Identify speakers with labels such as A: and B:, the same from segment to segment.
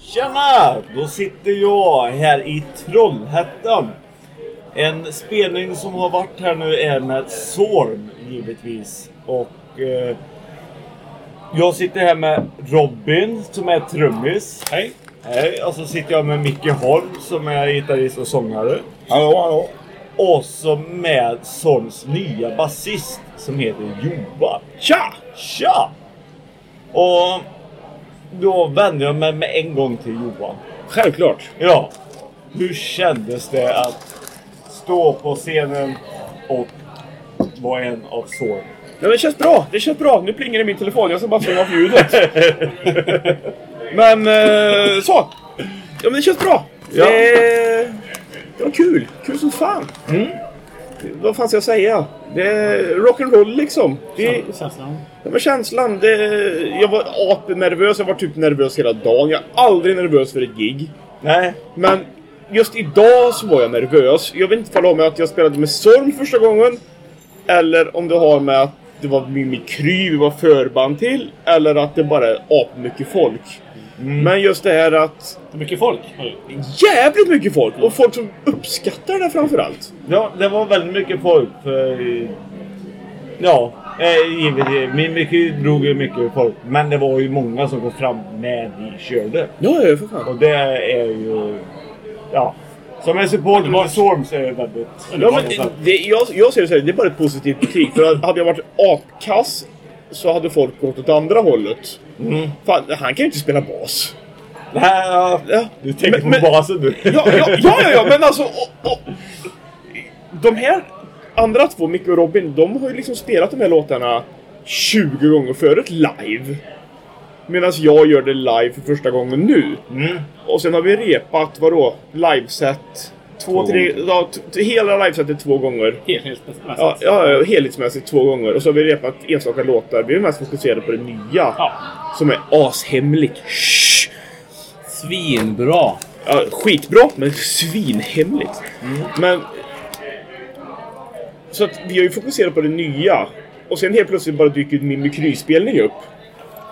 A: Tjena! Då sitter jag här i Trollhättan. En spelning som har varit här nu är med Sorm givetvis. Och eh, jag sitter här med Robin som är trummis.
B: Hej!
A: Hej! Och så sitter jag med Micke Holm som är gitarrist och sångare.
B: Hallå, hallå!
A: Och så med Sorms nya basist som heter Johan.
B: Tja!
A: Tja! Och då vänder jag mig med en gång till Johan.
B: Självklart!
A: Ja. Hur kändes det att stå på scenen och vara en av så?
B: Ja, det känns bra, det känns bra. Nu plingar det i min telefon, jag ska bara stänga av ljudet. men eh, så! Ja, men det känns bra!
A: Ja.
B: Det, det var kul, kul som fan! Vad fan ska jag säga? Det är rock'n'roll liksom. Det,
C: Känslan.
B: det var känslan. Det, jag var apenervös, jag var typ nervös hela dagen. Jag är aldrig nervös för ett gig.
A: Nej.
B: Men just idag så var jag nervös. Jag vet inte om det har med att jag spelade med Sorm första gången. Eller om det har med att det var Mimikry vi var förband till. Eller att det bara är mycket folk. Men just det här att
C: Det är mycket folk.
B: jävligt mycket folk! Och folk som uppskattar det framförallt.
A: Ja, det var väldigt mycket folk. För, ja, eh, givetvis. Min mycket drog ju mycket folk. Men det var ju många som kom fram när vi körde.
B: Ja, ja, för fan.
A: Och det är ju... Ja. Som en supporter till Storm så är det väldigt...
B: Ja, men det, det, jag, jag ser det så här, det är bara ett positivt betyg. För hade jag varit apkass så hade folk gått åt andra hållet. Fan, han kan ju inte spela bas.
A: Nej, ja.
B: Ja.
A: Du tänker
B: Men- men-
A: på basen du.
B: Ja, ja, ja, ja, ja men alltså... Och, och, de här andra två, Micke och Robin, de har ju liksom spelat de här låtarna 20 gånger förut live. Medan jag gör det live för första gången nu.
A: Mm.
B: Och sen har vi repat, vadå? Liveset. Två,
A: Två
B: tre...
A: gånger.
B: Ja, t- t- hela livesetet två gånger.
C: Helhetsmässigt.
B: Ja, ja, ja, helhetsmässigt två gånger. Och så har vi repat enstaka låtar. Vi är mest fokuserade på det nya.
C: Ja.
B: Som är ashemligt. Shh.
C: Svinbra.
B: Ja, skitbra, men svinhemligt. Men... Så att vi har ju fokuserat på det nya. Och sen helt plötsligt bara dyker en mimikryspelning upp.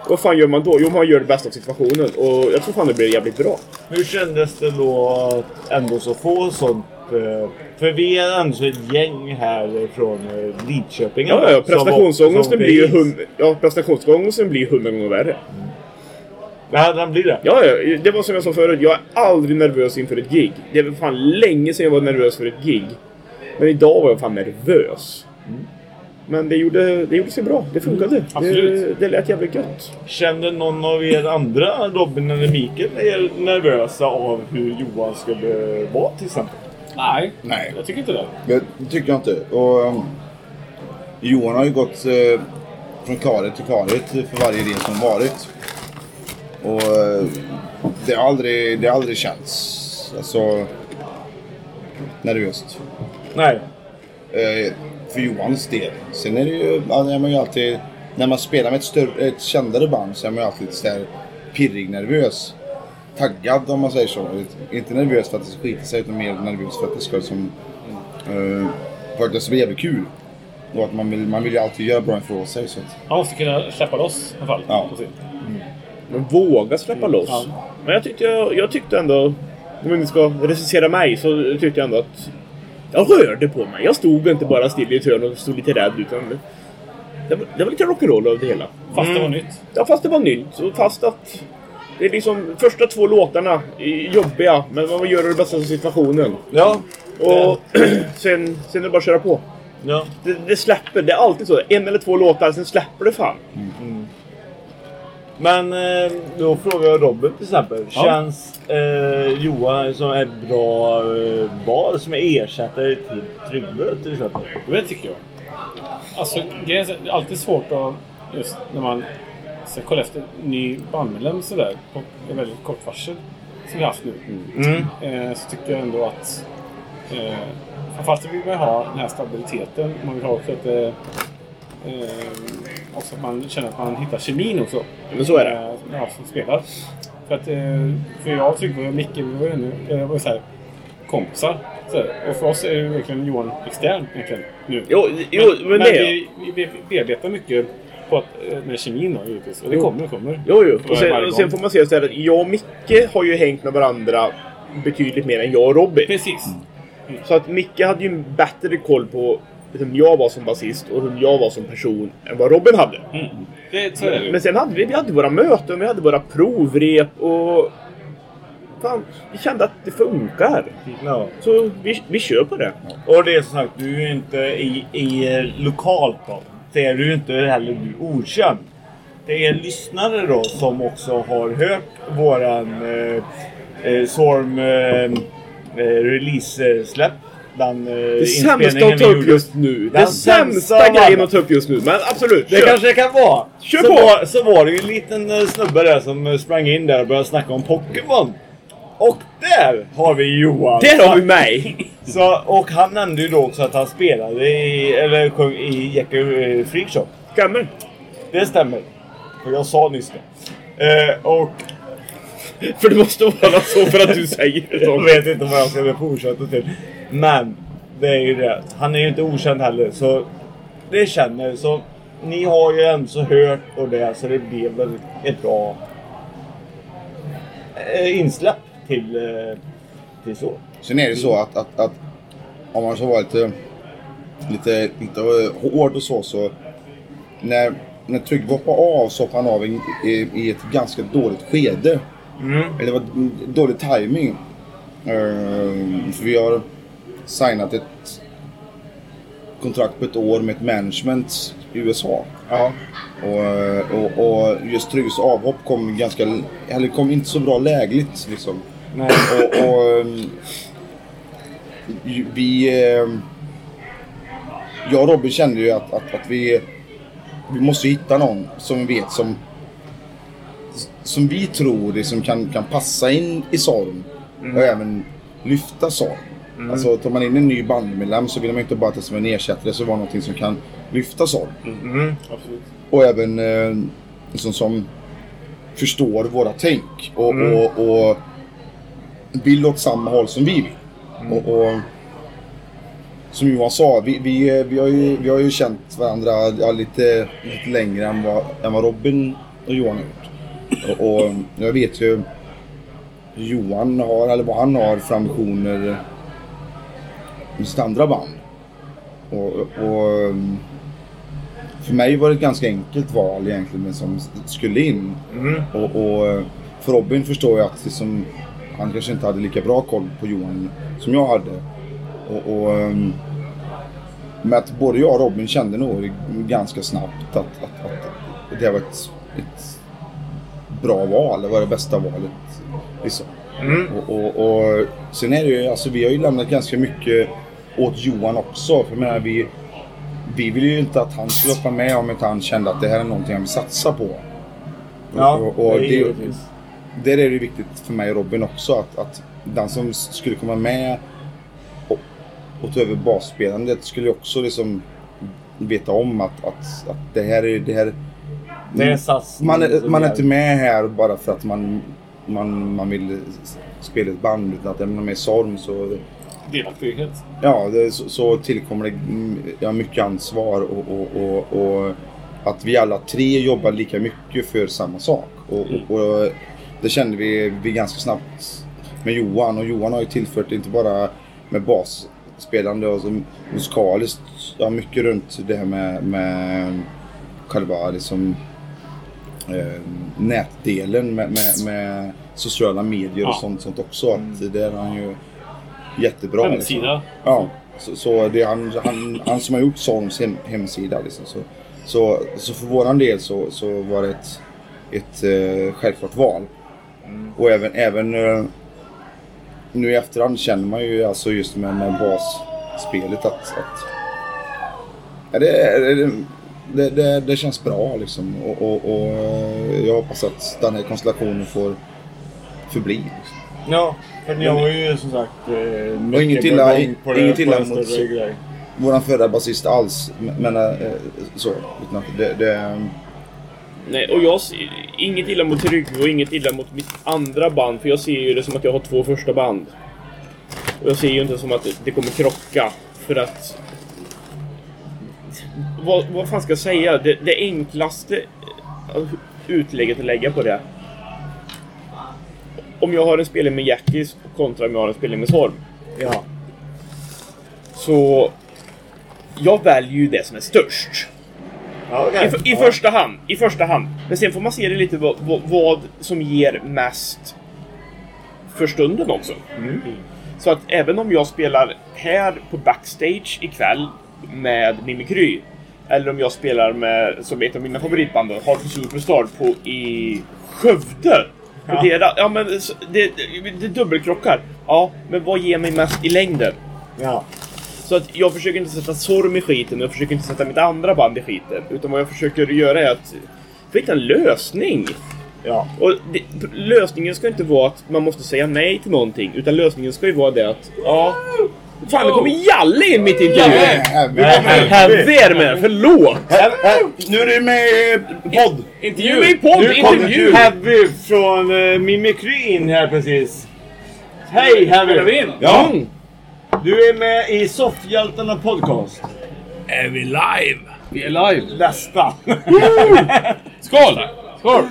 B: Vad fan gör man då? Jo, man gör det bästa av situationen. Och jag tror fan det blir jävligt bra.
A: Hur kändes det då att ändå så få sånt? eh, För vi är ändå så ett gäng här från eh, Lidköping.
B: Ja, ja,
A: som var-
B: prestationsångesten
A: som
B: blir ju
A: finns.
B: hund... Ja, prestationsångesten blir hundra gånger värre.
A: Ja, den blir det.
B: Ja, ja, det var som jag sa förut. Jag är aldrig nervös inför ett gig. Det är väl fan länge sedan jag var nervös för ett gig. Men idag var jag fan nervös. Men det gjorde, det gjorde sig bra. Det funkade. det,
C: Mm. absolut.
B: det lät jävligt gött.
A: Kände någon av er andra, Robin eller Mikael, er nervösa av hur Johan skulle vara till exempel?
C: Nej,
D: Nej,
C: jag tycker inte det.
D: det tycker jag inte. Och, um, Johan har ju gått eh, från klarhet till klarhet för varje del som varit. Och eh, det har aldrig, det har aldrig känts alltså, nervöst
A: Nej.
D: eh, för Johans del. Sen är det ju, ja, är man ju alltid, när man spelar med ett, större, ett kändare band så är man ju alltid lite så här pirrig nervös. Taggad om man säger så. Inte nervös för att det ska skita sig utan mer nervös för att det ska som, eh, för att det ska bli jävligt kul. Och att man vill, man vill ju alltid göra bra ifrån sig. Så att,
C: Han måste kunna släppa loss i alla fall.
D: Ja.
C: På sin.
B: Men våga släppa loss.
C: Ja.
B: Men jag tyckte, jag, jag tyckte ändå... Om ni ska recensera mig så tyckte jag ändå att... Jag rörde på mig. Jag stod inte bara still i ett hörn och stod lite rädd. Utan det, var, det var lite rock'n'roll av det hela. Mm.
C: Fast
A: Mm.
C: det var nytt.
B: Ja, fast det var nytt. Och fast att... Det är liksom första två låtarna är jobbiga, men man gör det bästa av situationen.
A: Ja.
B: Och sen, sen är det bara att köra på.
A: ja.
B: Det, det släpper. Det är alltid så. En eller två låtar, sen släpper det fan.
A: Men eh, då frågar jag Robin till exempel. Känns eh, Johan som en bra eh, bar som är ersättare till Tryggve till exempel?
C: Jo, det tycker jag. Alltså, det är alltid svårt att... Just när man ska kolla efter en ny bandmedlem sådär. På en väldigt kort varsel. Som vi har haft nu.
A: Mm.
C: eh, så tycker jag ändå att eh, framförallt vill man ha den här stabiliteten. Man vill ha också att, eh, eh, också att man känner att man hittar kemin också.
B: Men så är det.
C: Eh, med alla som spelar. För att eh, för jag, Tryggve och Micke, vi var ju nu, eh, var ju så här, kompisar. Så här. Och för oss är det ju verkligen Johan extern egentligen nu.
B: Jo, jo men,
C: men
B: det...
C: vi, vi, vi bearbetar mycket på att, eh, med kemin då givetvis. Och det
B: Jo.
C: kommer, kommer.
B: Jo, jo. Och
C: Varje
B: sen,
C: gång.
B: och sen får man se så här att jag och Micke har ju hängt med varandra betydligt mer än jag och Robin.
C: Precis.
B: Så att Micke hade ju en bättre koll på vem jag var som basist och hur jag var som person än vad Robin hade.
C: Mm. Det, så är det ju.
B: Men sen hade vi, vi hade våra möten, vi hade våra provrep och... Fan, vi kände att det funkar.
C: Typ.
A: Ja.
B: Så vi, vi kör på det.
A: Och det är som sagt, du är ju inte i, i eh, lokalt då. Det är du ju inte heller du okänd. Det är lyssnare då som också har hört våran eh, eh, Sorm eh, eh, release-släpp. Den, eh,
B: Det sämsta att ta upp just nu.
A: Den
B: Den sämsta
A: sämsta
B: grejen
A: var-
B: att ta upp just nu. Men absolut,
A: Det
B: kör.
A: kanske det kan vara.
B: Kör
A: så
B: på!
A: Var, så var det ju en liten eh, snubbe där som eh, sprang in där och började snacka om Pokémon. Och där har vi Johan!
B: Där har vi mig!
A: Så, och han nämnde ju då också att han spelade i, eller sjöng i Jackie Freakshop.
B: Stämmer.
A: Det stämmer. För jag sa nyss det. Eh, och
B: För det måste vara så för att du säger det.
A: jag
B: Tom.
A: vet inte vad jag ska fortsätta till. Men det är ju det. Han är ju inte okänd heller så det känner så. Ni har ju ändå så hört och det så det blev väl ett bra eh, insläpp till, eh, till så.
D: Sen är det så att, att, att om man ska vara lite, eh, lite, lite eh, hård och så, så när, när Tryggve hoppade av så hoppade han av i, i, i ett ganska dåligt skede. Eller det var dålig timing. Ehm, för vi har signat ett kontrakt på ett år med ett management i USA. Och, eh, och, och just Tryggs avhopp kom ganska, eller kom inte så bra lägligt liksom. Och, och ehm, ju- vi... ehm, Jag och Robin kände ju att, att, att vi... Vi måste hitta någon som vi vet som... Som vi tror liksom kan, kan passa in i Sorm. Och även lyfta Sorm. Alltså tar man in en ny bandmedlem så vill man ju inte bara att det ska vara en ersättare. Så vara någonting som kan lyfta Sorm.
C: Absolut.
D: Och även eh, liksom som förstår våra tänk och, och, och vill åt samma håll som vi vill. Och, och, som Johan sa, vi, vi, eh, vi, har, ju, vi har ju känt varandra ja, lite, lite längre än vad, än vad Robin och Johan har gjort. Och, och jag vet ju hur Johan har, eller vad han har för ambitioner med sitt andra band. Och, och för mig var det ett ganska enkelt val egentligen men som skulle in. Och, och för Robin förstår jag att liksom, han kanske inte hade lika bra koll på Johan som jag hade. Och, och, ehm, men att både jag och Robin kände nog ganska snabbt att, att, att det var ett, ett bra val. Det var det bästa valet. Liksom.
A: Mm.
D: Och, och, och sen är det ju, alltså vi har ju lämnat ganska mycket åt Johan också. För jag menar, vi, vi ville ju inte att han skulle hoppa med om inte han kände att det här är någonting han vill satsa på.
A: Ja,
D: och,
A: det är
D: och det,
A: givetvis.
D: där är det ju viktigt för mig och Robin också att, att den som s- skulle komma med och, och ta över basspelandet skulle ju också liksom veta om att, att, att det här är... Det här,
A: Det är en satsning
D: man, är,
A: som
D: man är
A: gäller.
D: inte med här bara för att man, man, man vill s- spela ett band. Utan att är man med i Sorm så,
C: Delaktighet.
D: ja, det, så, så tillkommer det mm, ja, mycket ansvar. Och, och, och, och att vi alla tre jobbar lika mycket för samma sak. Och, och, och det kände vi, vi ganska snabbt med Johan. Och Johan har ju tillfört inte bara med basspelande och så musikaliskt. Ja, mycket runt det här med, med själva liksom, eh, nätdelen med, med, med sociala medier och
C: Ja.
D: sånt, sånt också. Att där är han ju jättebra.
C: Hemsida.
D: Ja, så, så det är han, han, han som har gjort Sorms hem, hemsida. Liksom. Så, så, så för våran del så, så var det ett, ett eh, självklart val. Och även, även eh, nu i efterhand känner man ju alltså just med, med basspelet att, att ja, det, det, det, det, det känns bra liksom. Och, och, och eh, jag hoppas att den här konstellationen får förbli. Liksom.
A: Ja, för ni har ju som sagt eh, mycket
D: inget illa-
A: belägg på det-
D: inget
A: på
D: illa
A: den
D: mot-
A: större grejen.
D: våran förra basist alls. men- Men eh, så. Utan att det, det,
B: Nej, och jag ser inget illa mot Rygg och inget illa mot mitt andra band. För jag ser ju det som att jag har två första band. Och jag ser ju inte som att det kommer krocka. För att... vad, vad fan ska jag säga? Det, det enklaste eh, utlägget att lägga på det. Om jag har en spelning med Jackis kontra om jag har en spelning med Sorm.
A: Ja.
B: Så jag väljer ju det som är störst.
A: Ja,
B: I,
A: okej.
B: f- i,
A: Ja.
B: första hand, I första hand. Men sen får man se det lite vad, vad, vad som ger mest för stunden också. Så att även om jag spelar här på backstage ikväll med Mimikry. Eller om jag spelar med, som ett av mina favoritband, då, Hard for Superstar på, i Skövde. På
A: Ja.
B: Deras, ja, men, s- det, det, det dubbelkrockar. Ja, men vad ger mig mest i längden?
A: Ja.
B: Så att jag försöker inte sätta Sorm i skiten och jag försöker inte sätta mitt andra band i skiten. Utan vad jag försöker göra är att hitta en lösning.
A: Ja.
B: Och det, lösningen ska inte vara att man måste säga nej till någonting. Utan lösningen ska ju vara det att, ja... Fan, det kommer Jalle in mitt i intervjun!
D: Eh,
A: Nej.
D: Jävlar.
B: Helvete med förlåt!
D: eh, Nu är du med i podd.
B: Nu är vi i podd,
A: Nu kom
B: intervju!
A: Heavy från uh, Mimikry in här precis. Hej Heavy!
C: in?
D: Ja.
B: Mm.
A: Du är med i Soffhjältarna podcast.
C: Är vi live? Vi är live.
A: Nästan.
C: Skål! Skål!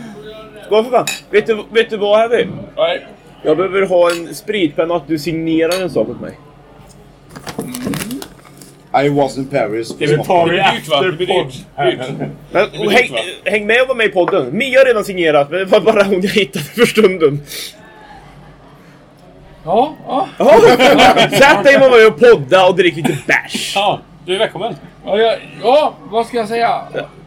B: Vad för fan? Vet du, vet du vad Heavy?
C: Nej.
B: Jag behöver ha en spritpenna och att du signerar en sak åt mig.
D: I was in Paris.
A: Det tar vi
C: Det blir dyrt, va?
A: efter
C: Det blir dyrt.
A: podd.
B: Men,
C: blir
B: häng,
C: dyrt, va?
B: häng med och var med i podden. Mia har redan signerat, men det var bara hon jag hittade för stunden.
C: Ja, ja.
B: Ja, Sätt dig med mig och podda och drick lite bärs.
C: Ja, du är välkommen.
E: Ja, ja, ja, vad ska jag säga?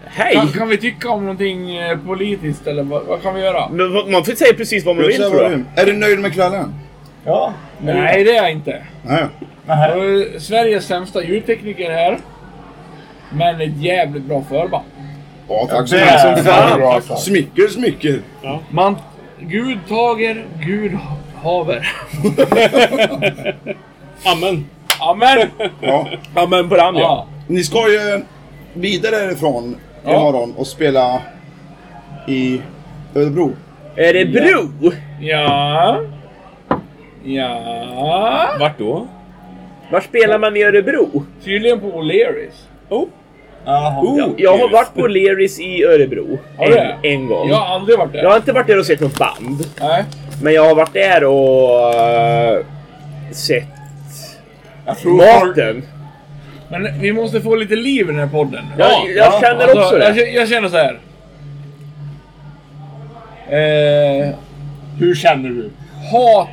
B: Hej!
E: Kan, kan vi tycka om någonting eh, politiskt eller vad, vad kan vi göra?
B: Men vad- man får säga precis vad man vill tror jag.
D: Är du nöjd med kvällen?
A: Ja.
E: Nej, det är jag inte.
D: Nej.
E: Jag är Sveriges sämsta ljudtekniker här. Men ett jävligt bra förband.
D: Ja, tack så
A: Ja,
D: mycket.
A: som
B: fan.
D: Bra, tack. Smicker, smicker.
E: Man... Gud tager, Gud haver.
C: Amen.
E: Amen!
D: Ja.
B: Amen på den ja.
E: Ja.
D: Ni ska ju vidare härifrån
E: Ja.
D: imorgon och spela i Örebro.
B: Är det bro?
E: Ja. Ja.
C: Vart då?
B: Var spelar man i Örebro? Oh,
E: Tydligen på O'Learys.
A: Jaha.
B: Jag, jag har varit på Leris i Örebro.
E: Har du det?
B: En, en gång.
E: Jag har aldrig varit
B: Jag
E: där.
B: har inte varit där och sett något band.
E: Nej.
B: Men jag har varit där och eh, sett
A: Jag tror folk-
B: maten.
E: Men vi måste få lite liv i den här podden. Alltså,
B: Jag, jag känner också
E: jag,
B: det.
E: kä- jag känner så här. Eh,
A: Hur känner du?
E: hat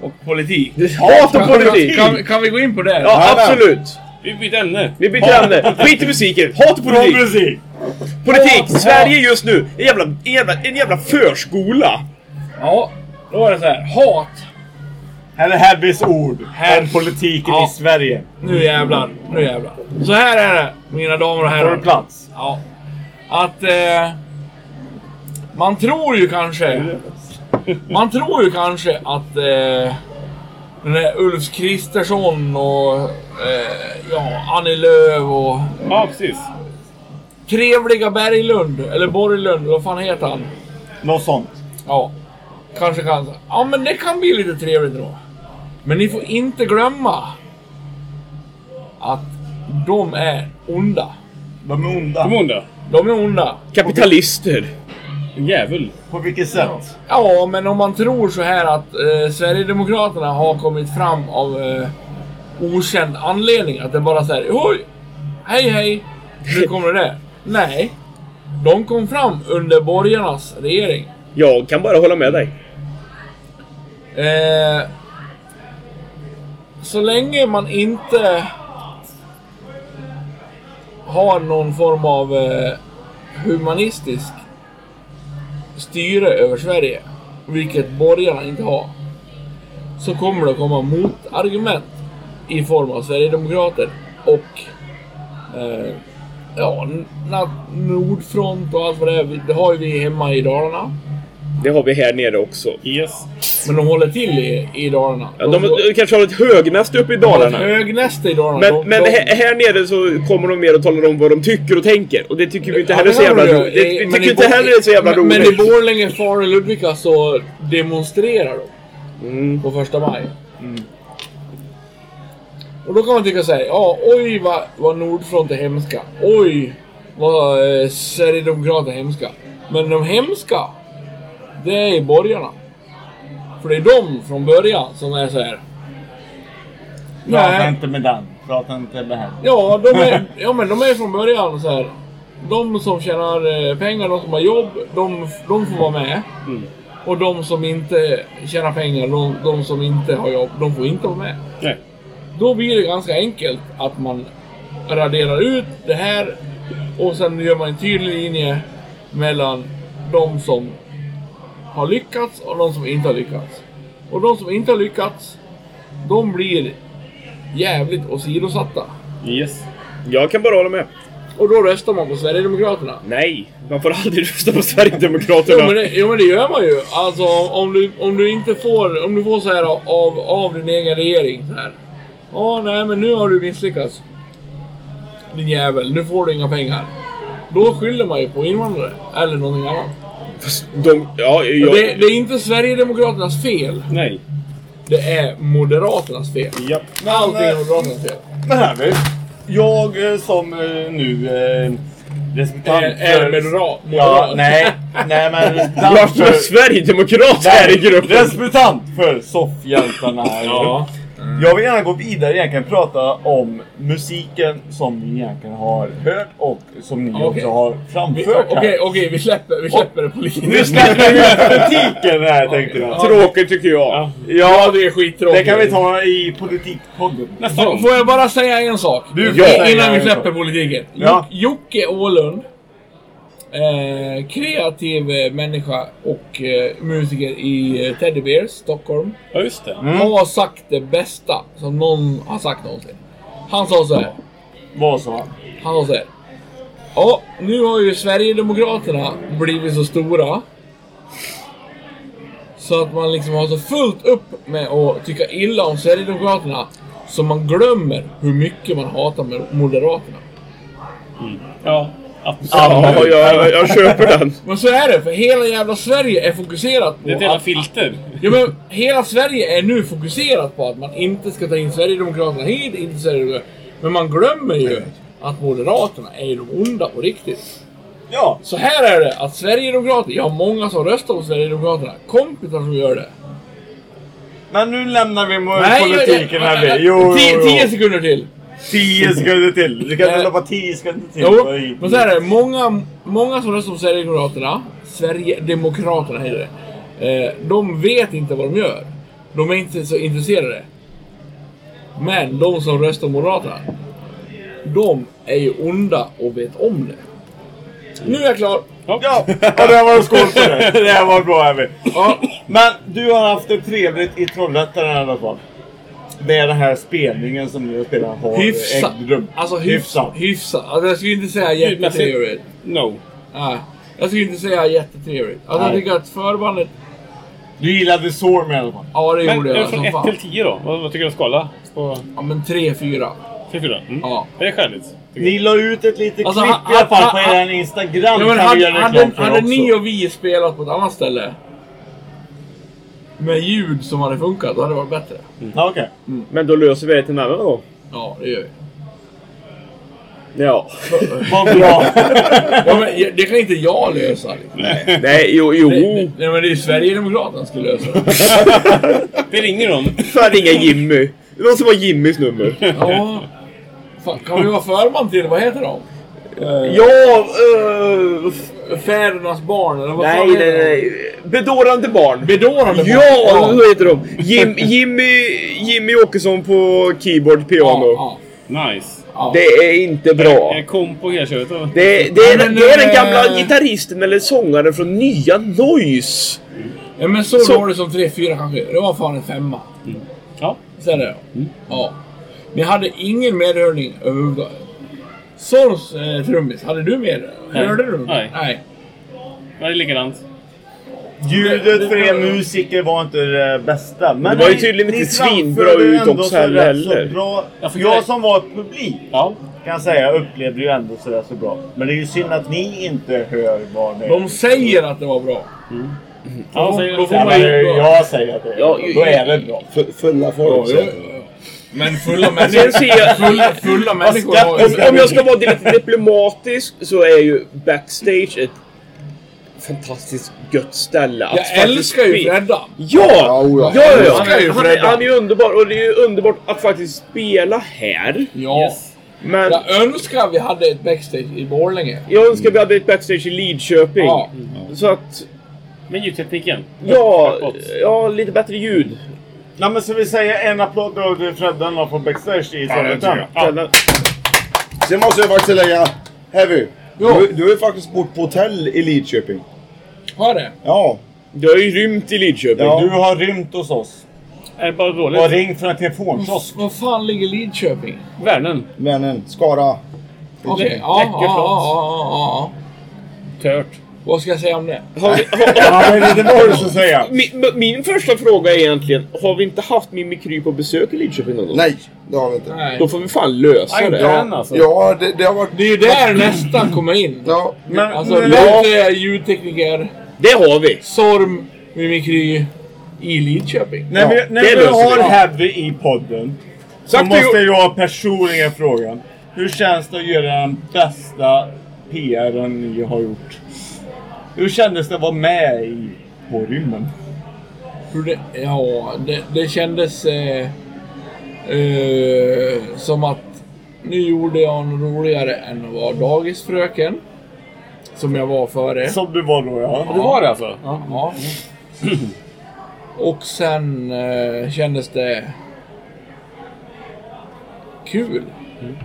E: och politik.
B: Hat och
E: Kan-
B: politik!
E: Kan, kan vi gå in på
B: Ja,
E: det?
D: Ja,
B: absolut.
C: Vi byter ämne.
B: Vi byter ämne. Skit i musiken. Hat och politik.
A: Progressiv!
B: Politik! Sverige just nu! En jävla, en jävla, en jävla förskola!
E: Ja, då är det så här. Hat.
A: Här är Heavys ord. Här är politiken
E: Ja.
A: i Sverige.
E: Nu jävlar. Nu jävlar. Så här är det, mina damer och
A: Har du
E: herrar.
A: plats?
E: Ja. Att... Eh, man tror ju kanske... Man tror ju kanske att... Eh, den där Ulf Kristersson och... Eh, ja, Annie Lööf och...
C: Ja, precis.
E: Trevliga Berglund, eller Borglund, vad fan heter han?
A: Något sånt.
E: Ja, kanske kan. Ja, men det kan bli lite trevligt då. Men ni får inte glömma att de är onda.
A: De är onda.
C: Kom hon då?
E: De är onda.
B: Kapitalister!
C: En jävel.
A: På vilket sätt?
E: Ja, men om man tror så här att eh, Sverigedemokraterna har kommit fram av eh, okänd anledning. Att det bara säger oj, hej hej, nu kommer det. Nej, de kom fram under borgarnas regering.
B: Jag kan bara hålla med dig.
E: Eh, så länge man inte har någon form av eh, humanistisk styre över Sverige, vilket borgarna inte har, så kommer det att komma motargument i form av Sverigedemokrater och eh, ja, na- Nordfront och allt vad det är. Det har ju vi hemma i Dalarna.
B: Det har vi här nere också.
C: Yes.
E: Men de håller till i, i Dalarna.
B: Ja, de, de kanske har ett högnäste uppe i Dalarna.
E: Högnäste i Dalarna.
B: Men,
E: de,
B: men
E: de,
B: här, här nere så kommer de mer och talar om vad de tycker och tänker. Och det tycker vi inte heller är så jävla
E: Ja,
B: roligt. Det,
E: eh,
B: vi
E: men
B: tycker
E: i
B: inte
E: Bo-
B: heller det är så jävla
E: men- Men i
B: roligt.
E: Borlänge, Falun och Ludvika så
B: Mm.
E: demonstrerar de på första maj. Och då kan man tycka såhär, ja oj vad, vad Nordfront är hemska. Oj vad eh, Sverigedemokraterna är hemska. Men de hemska, det är borgarna. För det är de från början som är så här.
A: Prata
E: Nej,
A: inte med den. Prata inte med henne.
E: ja, de är, ja men de är från början så här. De som tjänar eh, pengar, de som har jobb, de, de får vara med. Och de som inte tjänar pengar, de, de som inte har jobb, de får inte vara med.
C: Nej.
E: Då blir det ganska enkelt att man raderar ut det här och sen gör man en tydlig linje mellan de som har lyckats och de som inte har lyckats. Och de som inte har lyckats, de blir jävligt åsidosatta.
C: Yes.
B: Jag kan bara hålla med.
E: Och då röstar man på Sverigedemokraterna.
B: Nej, man får aldrig rösta på
E: Jo men,
B: Sverigedemokraterna.
E: det, jo men det gör man ju. Alltså om, om, du, om du inte får, om du får så här av, av din egen regering så här. Ja nej men nu har du misslyckats. Din jävel, nu får du inga pengar. Då skyller man ju på invandrare eller någonting annat.
B: Fast De, ja, jag,
E: Det, det är inte Sverigedemokraternas fel.
C: Nej.
E: Det är Moderaternas fel.
C: Japp.
E: Allting är Moderaternas fel.
A: Men här nu. eh, Jag eh, som eh, nu eh, representant
E: Är, är moderat.
A: Ja, nej. Nej men representant
B: Varför är
A: för...
B: Sverigedemokrat här i gruppen?
A: Representant för soffhjältarna.
E: Ja.
A: Jag vill gärna gå vidare egentligen och prata om musiken som vi egentligen har hört och som ni
E: Okej.
A: också har
E: Vi-
A: framfört här.
E: Okej, okej, vi släpper, vi släpper det på
A: Nu
E: linjen.
A: släpper vi politiken här tänkte jag.
B: Tråkigt tycker jag.
E: Ja, det är skittråkigt.
A: Det kan vi ta i politikpodden.
E: Får- Får jag bara säga en sak?
A: Du får
E: Ja.
A: säga
E: Innan vi
A: en
E: släpper
A: sak.
E: politiken.
A: Ja.
E: Juk- Jocke Åhlund. Eh, kreativ eh, människa och eh, musiker i eh, Teddy Bears, Stockholm.
C: Ja, just det.
A: Mm.
E: Har sagt det bästa som någon har sagt någonsin. Han sa så här.
A: Vad sa han?
E: Han sa så här. Ja, nu har ju Sverigedemokraterna blivit så stora. Så att man liksom har så fullt upp med att tycka illa om Sverigedemokraterna. Så man glömmer hur mycket man hatar med Moderaterna.
C: Ja. Absolut.
B: Ja, jag, jag köper den.
E: Men så är det, för hela jävla Sverige är fokuserat på
C: Det är ett jävla
E: att...
C: filter.
E: Ja, men hela Sverige är nu fokuserat på att man inte ska ta in Sverigedemokraterna hit, inte Sverigedemokraterna. Men man glömmer ju att Moderaterna är ju de onda på riktigt.
A: Ja,
E: Så här är det att Sverigedemokrater, jag har många som röstar på Sverigedemokraterna, kompisar som gör det.
A: men nu lämnar vi mo-
E: Nej, jag-
A: politiken
E: jag-
A: här.
E: jag-
A: vi. Jo,
E: tio,
A: jo,
E: tio
A: jo.
E: sekunder till.
A: Tio sekunder till. Du kan inte
E: Nej.
A: loppa tio sekunder till.
E: Jo,
A: på i-
E: men så här är det. Många, många som röstar på Sverigedemokraterna, Sverigedemokraterna heter det, eh, de vet inte vad de gör. De är inte så intresserade. Men de som röstar på Moderaterna, de är ju onda och vet om det. Nu är jag klar!
A: Ja, och det var en skål på det. Det här var bra Emil.
E: Ja,
A: Men du har haft det trevligt i Trollhättan i alla fall. Med den här spelningen som ni har spelat har
E: hyfsat.
A: ägt rum.
E: Alltså hyfsat. Hyfsat. Alltså, jag skulle inte säga jättetrevligt.
C: No.
E: Nej, jag skulle inte säga jättetrevligt. Alltså, jag
A: Nej.
E: tycker att förbandet...
A: Du gillade Sorm i alla fall.
E: Ja, det
C: Men
E: gjorde
C: eh,
E: jag
C: från
E: som
C: 1
E: fan.
C: till 10 då? Vad, vad tycker du om skala? På
E: Ja, men tre, fyra.
C: 3-4? Mm.
E: Ja.
C: Det är skäligt. tycker
A: Ni la ut ett litet
E: Alltså,
A: klipp
E: han-
A: i alla fall på
E: han- han-
A: er Instagram.
E: Ja, men
A: kan vi
E: hade,
A: göra reklam
E: hade,
A: för
E: hade
A: också.
E: ni och vi spelat på ett annat ställe med ljud som hade funkat, då hade det varit bättre.
A: Ja, okej.
B: Men då löser vi det till en annan gång.
E: Ja, det gör vi.
B: Ja.
A: Vad bra.
E: Ja, men jag- det kan inte jag lösa. Liksom.
B: Nej, jo,
E: Det,
B: jo.
E: det, nej, men det är ju Sverigedemokraterna som ska lösa det.
C: jag. Det ringer någon.
B: Fan, ringa Jimmy. Det var som var Jimmys nummer.
E: Ja. Fan, kan vi vara förman till Vad heter de?
B: Ja, eh, f-
E: Fädernas barn, eller vad
B: nej,
E: fan heter
B: nej, nej. Bedårande barn.
E: de? Bedårande barn.
B: Ja, så heter de. Jim, Jimmy, Jimmy Åkesson på keyboard,
E: ja,
B: piano.
E: ja,
C: Nice.
E: ja.
B: Det är inte bra.
C: Jag kom på hela köret. då.
B: Det, det, är,
E: Ja, men,
B: det är den
E: eh,
B: gamla gitarristen eller sångaren från nya Noise.
E: Ja, men så,
B: Så-
E: var det som 3-4 kanske. Det var fan en femma.
C: Ja.
E: Så är det. Ja. Ni hade ingen medhörning överhuvudtaget. Sors eh, trummis, hade du med
C: Nej.
E: Hörde du?
C: Nej.
E: Nej.
C: Men Det är likadant.
A: Ljudet för er musiker var inte det bästa. Men
B: Det var ju
A: ni-
B: tydligen
A: ni
B: inte svinbra
A: framförde ju
B: ut
A: ändå
B: också
A: så rätt
B: heller.
A: så Bra.
C: Jag fick
A: Jag
C: direkt-
A: som var publik
C: Ja.
A: kan jag säga upplevde ju ändå sådär så bra. Men det är ju synd att ni inte hör vad ni...
E: De säger att det var bra.
C: Ja,
E: Då-
C: säger
E: då
C: det.
E: får
A: Ja,
E: man
A: men
E: ju...
A: jag säger att det är
B: Ja,
A: bra.
B: ju-
A: Då är det bra.
D: Fu- Fulla folk.
E: Ja,
D: säger
E: ja,
D: de.
E: ja. Men fulla
B: Sen
E: människor...
B: ser jag...
E: Fulla, Alltså, fulla människor har
B: Om, om jag ska vara lite diplomatisk så är ju backstage ett fantastiskt gött ställe att
E: Jag
B: Alltså, faktiskt
E: älskar ju
B: spe-
E: Freddan.
B: Ja!
D: Ja,
B: ja,
D: oja.
B: ja, ja.
E: Han är ju
B: Han, är,
E: Freddan.
B: han är ju underbar och det är ju underbart att faktiskt spela här.
E: Ja.
B: Men
E: Jag önskar vi hade ett backstage i Borlänge.
B: jag önskar vi hade ett backstage i Lidköping.
E: Ja.
B: Så att...
C: Men ljudtekniken?
B: Ja,
C: Uppåt.
B: ja, lite bättre ljud.
A: Nej men ska vi säga en applåd då till Freddan då på backstage i Trollhättan?
B: Ja.
D: Sen måste jag faktiskt lägga... Heavy.
E: Jo.
D: Du, du har ju faktiskt bott på hotell i Lidköping.
E: Har det?
D: Ja.
B: Du har ju rymt i Lidköping.
D: Ja.
A: Du har rymt hos oss.
C: Är det bara dåligt?
A: Och ringt från en telefonkiosk.
E: Vad fan ligger Lidköping?
C: Värnen?
D: Vännen. eh, Skara.
E: Okej,
C: Lä-
E: ja, ja, ja,
C: läcker
E: ja,
C: flott.
E: ja, ja.
C: Tört.
E: Vad ska jag säga om det?
B: Har vi, har,
A: Ja men det var du som säga.
B: min, min första fråga är egentligen, har vi inte haft Mimikry på besök i Lidköping någon gång?
D: Nej, det har vi inte.
E: Nej.
B: Då får vi fan lösa det.
C: Ja. Alltså.
D: Ja, det, det har varit...
E: Det är ju där nästan kommer in.
D: Ja.
A: Men,
E: Alltså,
A: men,
B: ja.
E: Lute är ljudtekniker,
B: Det har vi!
E: Sorm, Mimikry i Lidköping.
A: när
D: Ja,
A: vi, när
B: det
A: vi
B: löser vi.
A: har Heavy i podden så
B: Sagt och
A: måste
B: gjort.
A: jag personligen fråga. Hur känns det att göra den bästa PRen ni har gjort? Hur kändes det att vara med i På rymmen?
E: Hur det, ja, det, det kändes eh, eh, som att nu gjorde jag något roligare än att vara dagisfröken. Som jag var före.
A: Som du var då
C: Det
A: ja.
C: var det alltså? Ja.
E: Ja. Och sen eh, kändes det kul.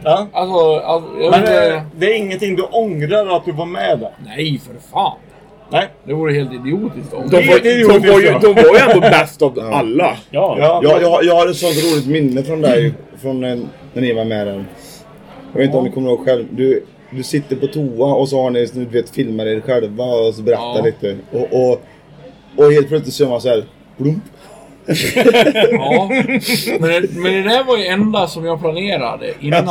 A: ja.
E: Alltså, alltså jag vet
A: Men eh,
E: inte...
A: det, det är ingenting du ångrar att du var med där?
E: Nej, för fan.
A: Nej.
E: Det vore helt idiotiskt om...
B: De var,
A: Det är
B: de,
A: ju
B: var ju,
A: roligt,
B: de var ju ändå bäst av alla.
C: ja.
A: Ja.
D: Jag, jag, jag har ett sånt roligt minne från dig, från när, när ni var med där. Jag vet inte om ni kommer ihåg själv. Du, du sitter på toa och så har ni, du vet, filmar er själva och så berättar
E: Ja.
D: lite. Och, och, och helt plötsligt så är man såhär... Blump.
E: Ja. Men, det- men det där var ju enda som jag planerade innan.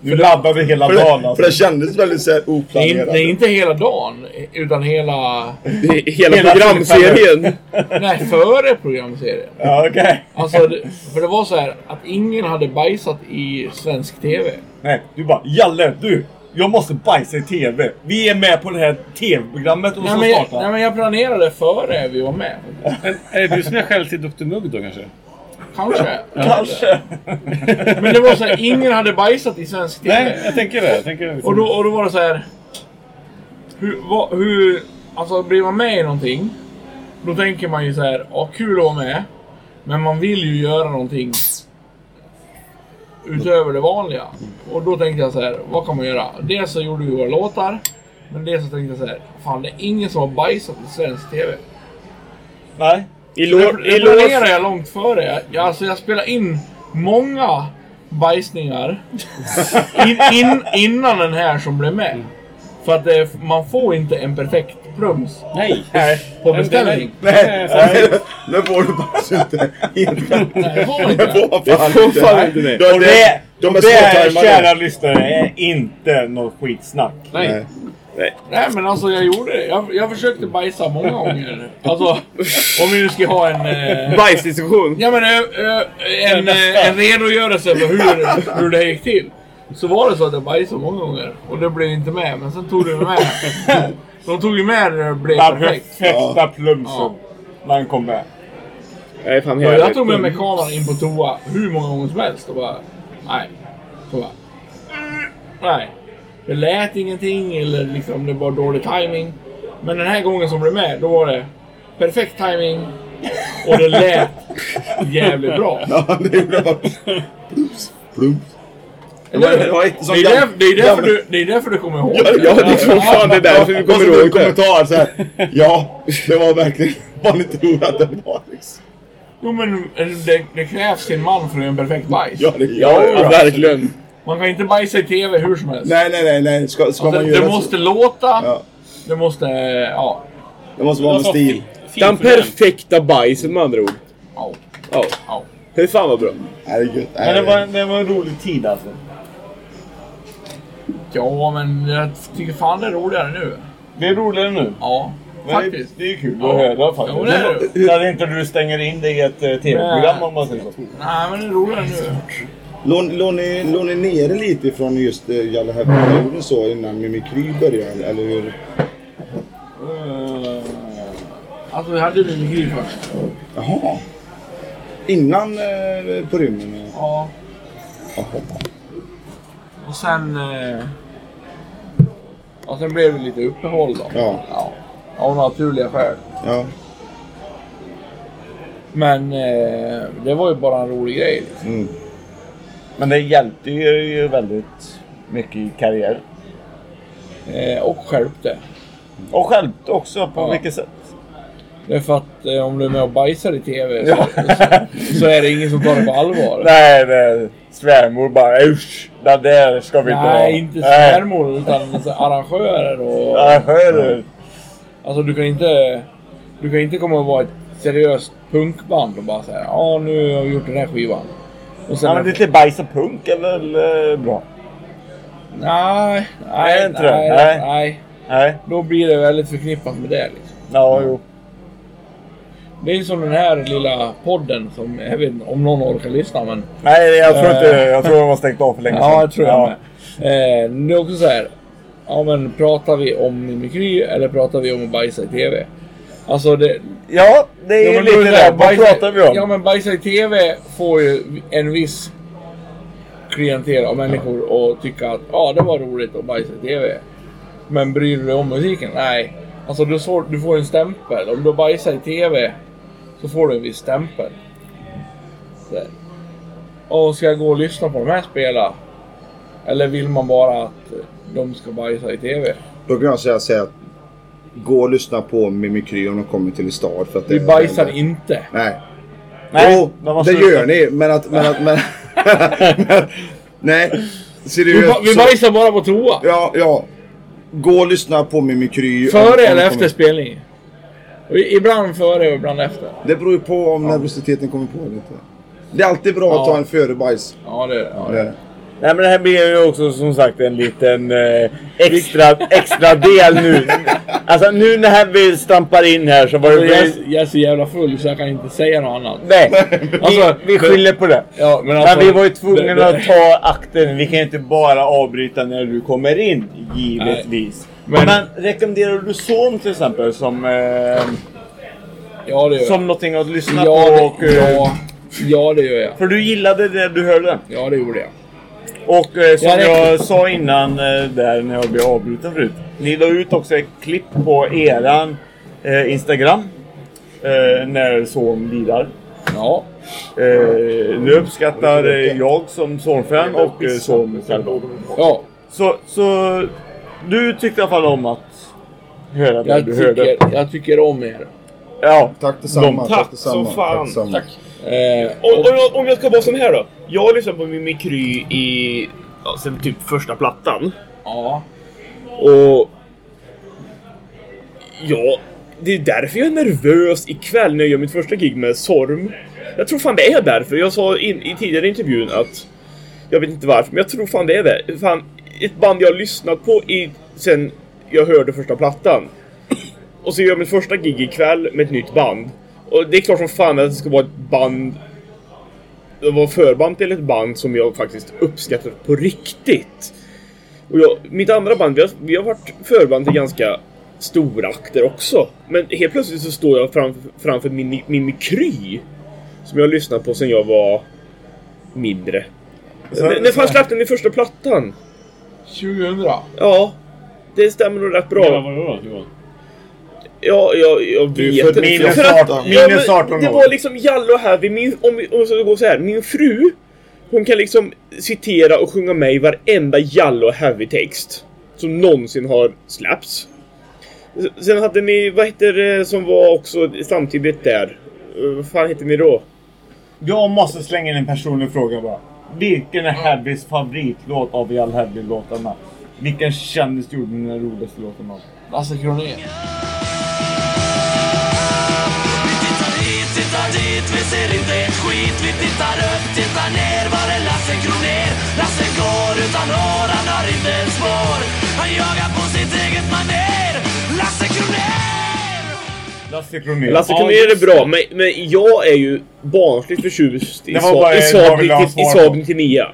A: Du labbade hela
D: För
A: dagen
D: det, för
A: alltså.
D: det kändes väldigt såhär
E: Det är, in-
D: oplanerat.
E: det är inte hela dagen, utan hela...
B: Det är Hela,
A: Hela
B: programserien.
E: Nej, före programserien.
A: Ja, okej.
E: Alltså, det, för det var så här att ingen hade bajsat i svensk TV.
A: Nej, du bara Jalle, du! Jag måste bajsa i TV. Vi är med på det här TV-programmet och
E: Nej
A: så
E: men, jag,
A: startar.
E: nej, men jag planerade före vi var med.
C: Men är det du som är skäll till Dr Mugg då kanske?
E: Kanske.
A: Kanske.
E: Men det var så här, ingen hade bajsat i svensk TV.
C: Nej, jag tänker det. Jag tänker liksom.
E: Och då, och då var det så här. Hur, vad, hur, alltså blir man med i någonting. Då tänker man ju så här, ja kul att vara med. Men man vill ju göra någonting. Utöver det vanliga. Och då tänkte jag så här, vad kan man göra? Dels så gjorde vi våra låtar. Men dels så tänkte jag så här, fan det är ingen som har bajsat i svensk TV.
A: Nej.
B: I
E: Det
B: lår... I lår...
E: planerade jag långt före. Jag- Jag, alltså jag spelade in många bajsningar in, in, innan den här som blev med. För att det, man får inte en perfekt plums
C: Nej.
E: på beställning.
C: Nej.
D: Men får du bara inte.
E: Nej, det får man inte.
D: Vad
B: Det får fan inte
D: Nej.
B: ni.
D: De-
A: Och det,
D: de
A: och
D: är
A: det
D: småtajmade.
A: kära lyssnare, är inte något skitsnack.
C: Nej.
E: Nej men alltså jag gjorde det. Jag, jag försökte bajsa många gånger. Alltså om vi nu ska ha en... Eh,
B: Bajsdiskussion.
E: ja men ö, ö, en, eh, en redogörelse för hur, hur det gick till. Så var det så att jag bajsade många gånger och det blev inte med. Men sen tog det med. De tog ju med det när det blev
A: Den
E: perfekt.
A: perfekta plumsen.
E: Ja.
A: När han kom med.
B: Nej, fan
E: Ja,
B: härligt.
E: jag tog med mig kameran in på toa hur många gånger som helst och bara... Nej. Så bara, "Mm, nej. Det lät ingenting eller liksom det var dålig timing. Men den här gången som blev med, då var det perfekt timing och det lät jävligt bra.
D: Ja, det är bra. Plump.
E: Eller hur?
D: Det var inte
E: Det
D: som
E: är,
D: gam-
E: därför, det, är därför du, det är därför du kommer ihåg
B: Ja,
E: det.
B: ja, det är som fan det är därför vi
D: Och så
B: kommer
A: Alltså,
D: någon
B: ihåg det.
D: kommentar så här. Ja, det var verkligen vad ni trodde att det var. Liksom.
E: Jo men eh, det, det krävs en man för en perfekt bajs.
D: Ja, det
B: Ja,
D: ja, ja.
B: verkligen.
E: Man kan inte bajsa i TV hur som helst.
D: Nej, nej, nej, nej. Ska, ska
E: Alltså,
D: man
E: det
D: göra
E: måste
D: så?
E: låta,
D: Ja.
E: det måste... eh, Ja.
D: Det måste vara med stil.
B: Den perfekta bajsen med andra ord.
E: ja,
B: Ja.
E: ja.
B: Fy fan vad bra.
D: Nej, det är gött. Nej,
A: Men det var, det var en rolig tid alltså.
E: Ja, men jag tycker fan det är roligare nu.
A: Det är roligare nu.
E: Ja. faktiskt.
A: Det är ju kul att höra faktiskt.
E: Jo, det är det.
A: Så att inte du stänger in dig i ett eh, tv-program om man säger så.
E: Nej, men det är roligare nu.
D: Låg låg ni, låg ni nere lite från just eh, Jalle Häffer-perioden så innan Mimikry började? Eller hur?
E: Eh, Alltså, vi hade ju Gry först.
D: Jaha. Innan eh, På rymden? eh.
E: Ja.
D: Jaha.
E: Och sen... Eh, och sen blev det lite uppehåll då.
D: Ja.
E: ja. Av naturliga skäl.
D: Ja.
E: Men eh, det var ju bara en rolig grej. liksom.
D: Mm.
A: Men det hjälpte ju ju väldigt mycket i karriären.
E: Eh, och skärpte.
A: Och självt också, på
E: Ja.
A: vilket sätt?
E: Det är för att eh, om du är med och bajsar i TV så, så, så är det ingen som tar det på allvar.
A: Nej, det är svärmor bara usch, den där ska vi inte ha.
E: Nej, inte svärmor utan så arrangörer och...
A: Nej, hör
E: Alltså du kan inte... Du kan inte komma och vara ett seriöst punkband och bara säga ja nu har vi gjort den här skivan. Och sen...
A: Ja, men det är lite bajs och punk eller, eller eh, bra?
E: Nej,
A: Nej,
E: nej,
A: inte det.
E: nej,
A: Nej.
E: nej,
A: Nej.
E: Då blir det väldigt förknippat med det liksom.
A: Ja, jo.
E: Det är ju som den här lilla podden som, jag vet inte om någon orkar lyssna men...
A: Nej, jag tror
E: Eh.
A: inte Jag tror de har stängt av för länge sedan.
E: Ja, jag tror jag med. Eh, det är också så här. Ja, men pratar vi om mimikry eller pratar vi om att bajsa i TV? Alltså det...
A: Ja, det är
E: Ja, men
A: ju lite
E: då är det
A: det.
E: här,
A: Vad pratar vi om?
E: Ja, men bajsa i TV får ju en viss klienter av människor och tycka att ja, det var roligt att bajsa i TV. Men bryr du dig om musiken? Nej. Alltså du, så, du får ju en stämpel. Om du bajsar i TV så får du en viss stämpel. Så. här. Och ska jag gå och lyssna på de här spela? Eller vill man bara att de ska bajsa i TV?
D: Då kan jag säga, säga att gå och lyssna på Mimikry om de kommer till stad. För att
E: Vi
D: det-
E: bajsar inte.
D: Nej.
A: Nej,
D: jo,
A: de har
D: det
A: slutat.
D: gör ni. Men att... Men att men, nej.
E: Vi,
D: Seriöst.
E: ba- vi
D: så-
E: bajsar bara på toa.
D: Ja, ja. Gå och lyssna på Mimikry. om- om
E: Före
D: de
E: eller
D: kommer-
E: efter spelning? Och i- Ibland före och ibland efter.
D: Det beror ju på om nervositeten kommer på eller inte. Det är alltid bra
E: Ja.
D: att ta en före bajs.
E: Ja, det ja.
D: Det-
A: Nej men det här blir ju också som sagt en liten eh, extra, extra del nu. Alltså nu när vi stampar in här så var det...
E: Alltså, Jag, är- jag är så jävla full så jag kan inte säga något annat.
A: Nej,
E: Alltså,
A: vi, vi skyller på det.
E: Ja, men,
A: Men
E: alltså-
A: vi var ju tvungna
E: det- det-
A: att ta akten. Vi kan ju inte bara avbryta när du kommer in, givetvis. Men,
E: Men-
A: rekommenderar du Son till exempel som, eh,
E: Ja, det gör jag.
A: som någonting att lyssna
E: ja,
A: på?
E: det,
A: Och, eh,
E: ja, ja, det gör jag.
A: För du gillade det du hörde.
E: Ja, det gjorde jag.
A: Och eh, som
E: Ja, det-
A: jag sa innan eh, där när jag blev avbruten förut. Ni la ut också ett klipp på eran eh, Instagram. Eh, när Son lirar.
E: Ja,
A: Eh, det uppskattar eh, jag som Son-fan och eh, Son själv.
E: ja
A: Så, så du tyckte i alla fall om att höra det
E: jag,
A: du hörde?
E: tycker, jag tycker om er.
A: Ja.
D: Tack detsamma.
A: De-
B: tack
D: detsamma,
B: som fan.
D: detsamma.
E: Eh,
B: Om,
E: och,
B: om, jag, om jag ska vara sån här då. Jag har lyssnat på Mimikry i... Ja, sen typ första plattan.
E: ja,
B: Och... Ja, det är därför jag är nervös ikväll när jag gör mitt första gig med Sorm. Jag tror fan det är därför. Jag sa in, i tidigare intervjun att... Jag vet inte varför, men jag tror fan det är det. Fan, ett band jag har lyssnat på i, sen jag hörde första plattan. Och så gör jag mitt första gig ikväll med ett nytt band. Och det är klart som fan att det ska vara ett band... Det var förband till ett band som jag faktiskt uppskattar på riktigt. Och jag, mitt andra band, vi har, vi har varit förband till ganska stora akter också. Men helt plötsligt så står jag fram, framför min Mimikry. Som jag har lyssnat på sedan jag var mindre. N- när fan släppte ni första plattan?
E: 2000.
B: Ja, det stämmer nog rätt bra. Ja, jag, jag
D: är
B: vet
D: född
B: inte.
D: minus
B: För att-
D: 18.
B: ja, men
A: Minus 18
B: Det
A: år.
B: var liksom Jalle och Heavy, min, om, vi- om vi ska gå så här, min fru. Hon kan liksom citera och sjunga med i varenda Jalle och Heavy-text. Som någonsin har släppts. S- Sen hade ni, vad heter det som var också samtidigt där? Eh, Vad fan heter ni då?
A: Jag måste slänga in en personlig fråga bara. Vilken är Heavys favoritlåt av all Heavy-låtarna? Vilken kändis gjorde den roligaste låten av?
E: Lasse Kronér.
F: Vi tittar hit, tittar dit, vi ser inte ett skit Vi tittar upp, tittar ner, var är Lasse Kronér? Lasse går utan hår, han har inte ett spår Han jagar på sitt eget manér Lasse Kronér!
A: Lasse Kronér.
B: Lasse
C: Ja,
B: Kronér är
C: just
B: bra, men, men jag är ju barnsligt förtjust i
A: Det var bara
B: Sa- i
A: en jag ville ha
B: Saab i
A: svar
B: Saab
A: på.
B: 99.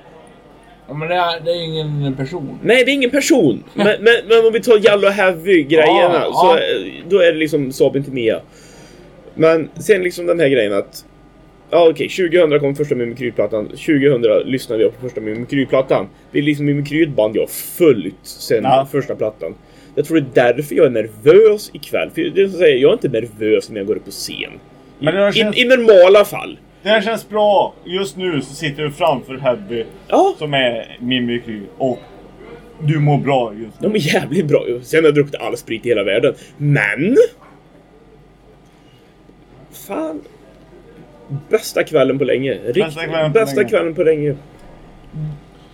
E: Ja, men det är, det är ingen person.
B: Nej, det är ingen person. Men, men, men om vi tar Yellow Heavy-grejerna,
E: Ja,
B: så
E: ja.
B: eh, då är det liksom Saab inte Mia. Men sen liksom den här grejen att... Ja okej, 2000 kom första Mimikry-plattan. 2000 lyssnade jag på första Mimikry-plattan. Det är liksom Mimikry ett band jag följt sen
A: Ja.
B: första plattan. Jag tror det är därför jag är nervös ikväll. För det är som jag säger, jag är inte nervös när jag går upp på scen.
A: Men det här
B: I,
A: känns,
B: I normala fall.
A: det här känns bra. Just nu så sitter du framför Heavy
B: Ja,
A: som är Mimikry och du mår bra just nu.
B: de är jävligt bra. Sen har jag druckit all sprit i hela världen. Men... Fan. Bästa kvällen på länge. Riktigt, bästa kvällen på, länge.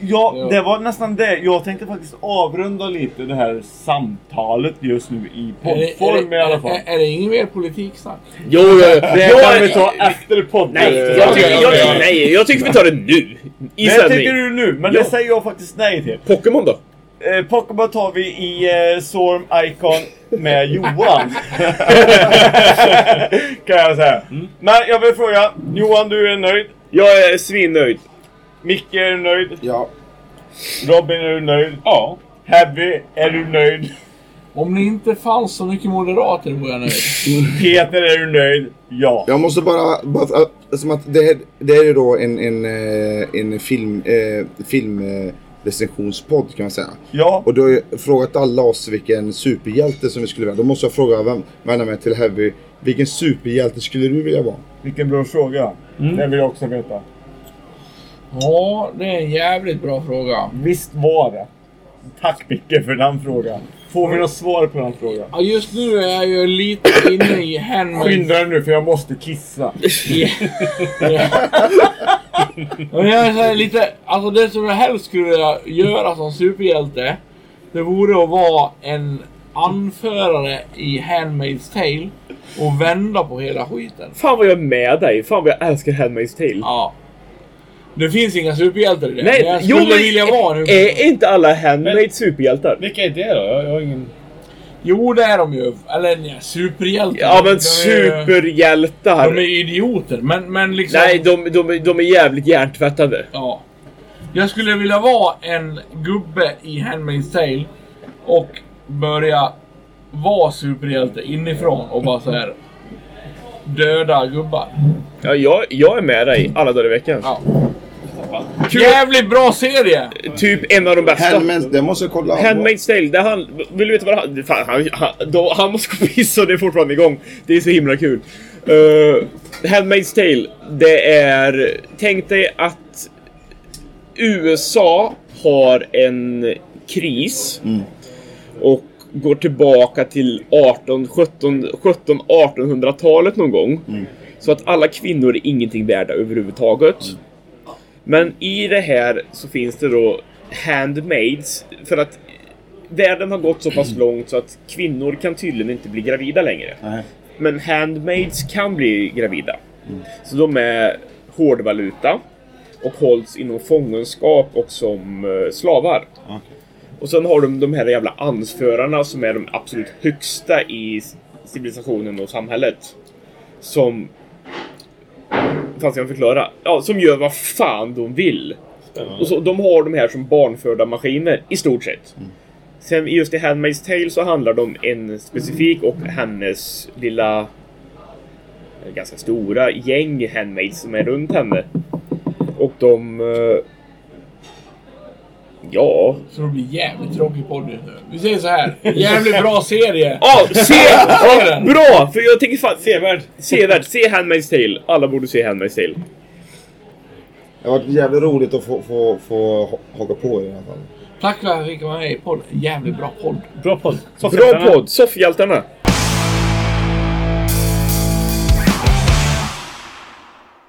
A: Ja,
E: Ja.
A: det var nästan det. Jag tänkte faktiskt avrunda lite det här samtalet just nu i
E: Är det, är,
A: poddform
E: det,
A: i alla fall.
E: Är, är det ingen mer politiksnack?
B: Jo, jo, jo.
A: Det
B: jag,
A: kan vi ta efter podden.
B: Nej, jag,
A: Ja,
B: tycker,
A: ja,
B: jag,
A: ja.
B: tycker- nej, jag tycker vi tar det nu. I
A: Det tycker
B: sändning.
A: du nu, men
B: Ja.
A: det säger jag faktiskt nej till.
B: Pokémon då?
A: Eh, Pokémon tar vi i eh, Storm Icon med Johan. kan jag säga.
E: Mm.
A: Men jag vill fråga, Johan du är nöjd?
B: Jag är svinnöjd.
A: Micke är du nöjd?
D: Ja.
A: Robin är du nöjd?
C: Ja.
A: Heavy, är du nöjd?
E: Om det inte fanns så mycket moderater vore jag nöjd.
A: Peter, är du nöjd? Ja.
D: Jag måste bara... bara äh, som att det, här, det här är då en, en, eh, en film, eh, film eh, recensionspodd kan man säga.
A: Ja.
D: Och du har ju frågat alla oss vilken superhjälte som vi skulle vara. Då måste jag fråga, vem, vända mig till Heavy. Vilken superhjälte skulle du vilja vara?
A: Vilken bra fråga. Det vill jag också veta.
E: Ja, det är en jävligt bra fråga.
A: Visst var det. Tack Micke för den frågan. Får vi något svar på den frågan?
E: Ja, just nu är jag ju lite inne i handmade...
A: Skynda dig nu för jag måste kissa.
E: Men jag är så här lite... Alltså det som jag helst skulle vilja göra som superhjälte, det vore att vara en anförare i Handmaid's Tale och vända på hela skiten.
B: Fan vad jag är med dig. Fan vad jag älskar Handmaid's Tale.
E: Ja. Det finns inga superhjältar i det.
B: Nej,
E: Men jag
B: jo,
E: skulle
B: men eh,
E: vilja vara nu.
B: Är inte alla Handmaid superhjältar?
C: Vilka är det då? Jag, jag har ingen...
E: Jo, det är de ju. Eller nej, superhjältar.
B: Ja men
E: De är ju-
B: superhjältar.
E: De är idioter, men, men liksom...
B: Nej, de, de, de är jävligt hjärntvättade.
E: Ja. Jag skulle vilja vara en gubbe i Handmaid's Tale och börja vara superhjälte inifrån och bara så här döda gubbar.
B: Ja, jag, jag är med dig alla dagar i veckan.
E: Ja.
B: Kul.
E: Jävligt bra serie!
B: Typ en av de bästa.
D: Handmaid, det måste jag kolla.
B: Handmaid's Tale, där han... Vill du veta vad han... Fan, han, han, då, han måste gå och pissa och det är fortfarande igång. Det är så himla kul. Uh, Handmaid's Tale, det är... Tänk dig att USA har en kris. Och går tillbaka till 18, 17, 17 1800-talet någon gång. Så att alla kvinnor är ingenting värda överhuvudtaget. Men i det här så finns det då handmaids. För att världen har gått så pass långt så att kvinnor kan tydligen inte bli gravida längre.
D: Nej.
B: Men handmaids kan bli gravida. Så de är hårdvaluta och hålls inom fångenskap och som eh, slavar. Och sen har de de här jävla ansförarna som är de absolut högsta i civilisationen och samhället. Som... Fan ska jag förklara? Ja, som gör vad fan de vill. Och så, de har de här som barnfödda maskiner, i stort sett. Sen i just i Handmaid's Tale så handlar det om en specifik och hennes lilla... eh, Ganska stora gäng handmaids som är runt henne. Och de... eh, Ja,
E: Så det blir jävligt tråkig podd just nu. Vi säger så här. jävligt bra serie!
B: Ja, Ah, se! Ja, bra! För jag tänker fan... Sevärd. Sevärd. Se Handmaid's Tale. Alla borde se Handmaid's Tale.
D: Det har varit jävligt roligt att få, få, få ha- haka på er i alla fall.
E: Tack för att jag fick vara med i podden. Jävligt bra podd.
C: Bra podd.
B: Bra podd! Soffhjältarna.